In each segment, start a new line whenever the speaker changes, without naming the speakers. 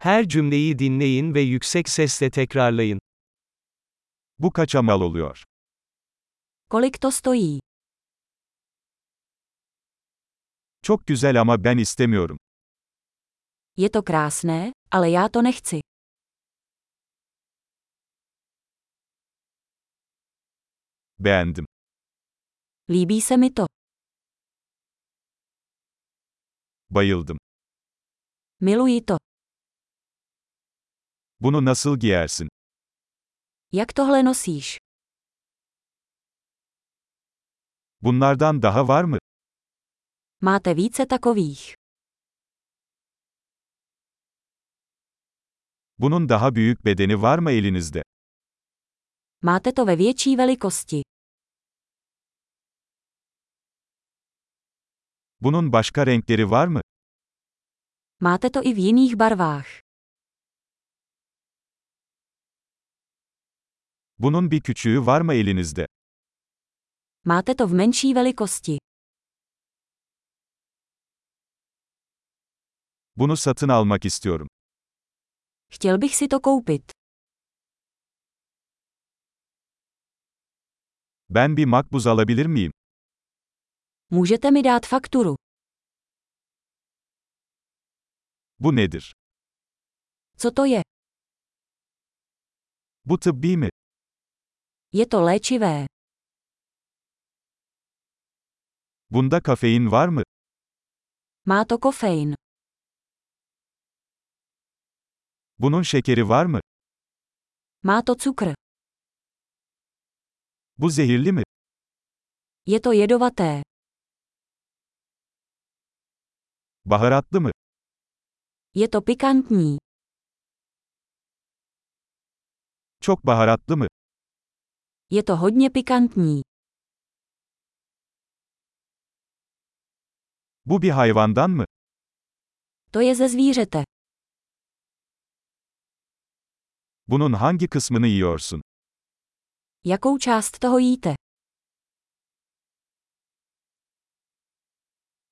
Her cümleyi dinleyin ve yüksek sesle tekrarlayın.
Bu kaça mal oluyor?
Kolik to stojí?
Çok güzel ama ben istemiyorum.
Je to krásné, ale já to nechci.
Beğendim.
Líbí se mi to.
Bayıldım.
Miluji to.
Bunu nasıl giyersin?
Jak tohle nosíš?
Bunlardan daha var mı?
Máte více takových.
Bunun daha büyük bedeni var mı elinizde?
Máte to ve větší velikosti.
Bunun başka renkleri var mı?
Máte to i v jiných barvách.
Bunun bir küçüğü var mı elinizde?
Máte to v menší velikosti.
Bunu satın almak istiyorum.
Chtěl bych si to koupit.
Ben bir makbuz alabilir miyim?
Můžete mi dát fakturu.
Bu nedir?
Co to je?
Bu tıbbi mi?
Je to léčivé.
Bunda kafein var mı?
Má to kofein.
Bunun şekeri var mı?
Má to cukr.
Bu zehirli mi?
Je to jedovaté.
Baharatlı mı?
Je to pikantní.
Çok baharatlı mı?
Je to hodně pikantní.
Bu bir hayvandan mı?
To je ze zvířete.
Bunun hangi kısmını yiyorsun?
Jakou část toho jíte?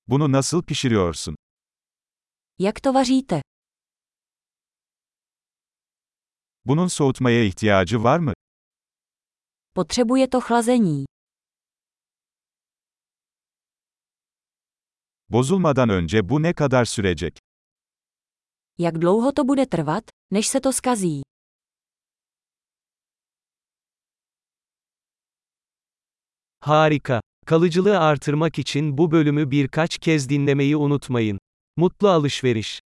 Bunu nasıl pişiriyorsun?
Jak to vaříte?
Bunun soğutmaya ihtiyacı var mı?
Potřebuje to chlazení.
Bozulmadan önce bu ne kadar sürecek?
Jak dlouho to bude trvat, než se to skazí?
Harika. Kalıcılığı artırmak için bu bölümü birkaç kez dinlemeyi unutmayın. Mutlu alışveriş.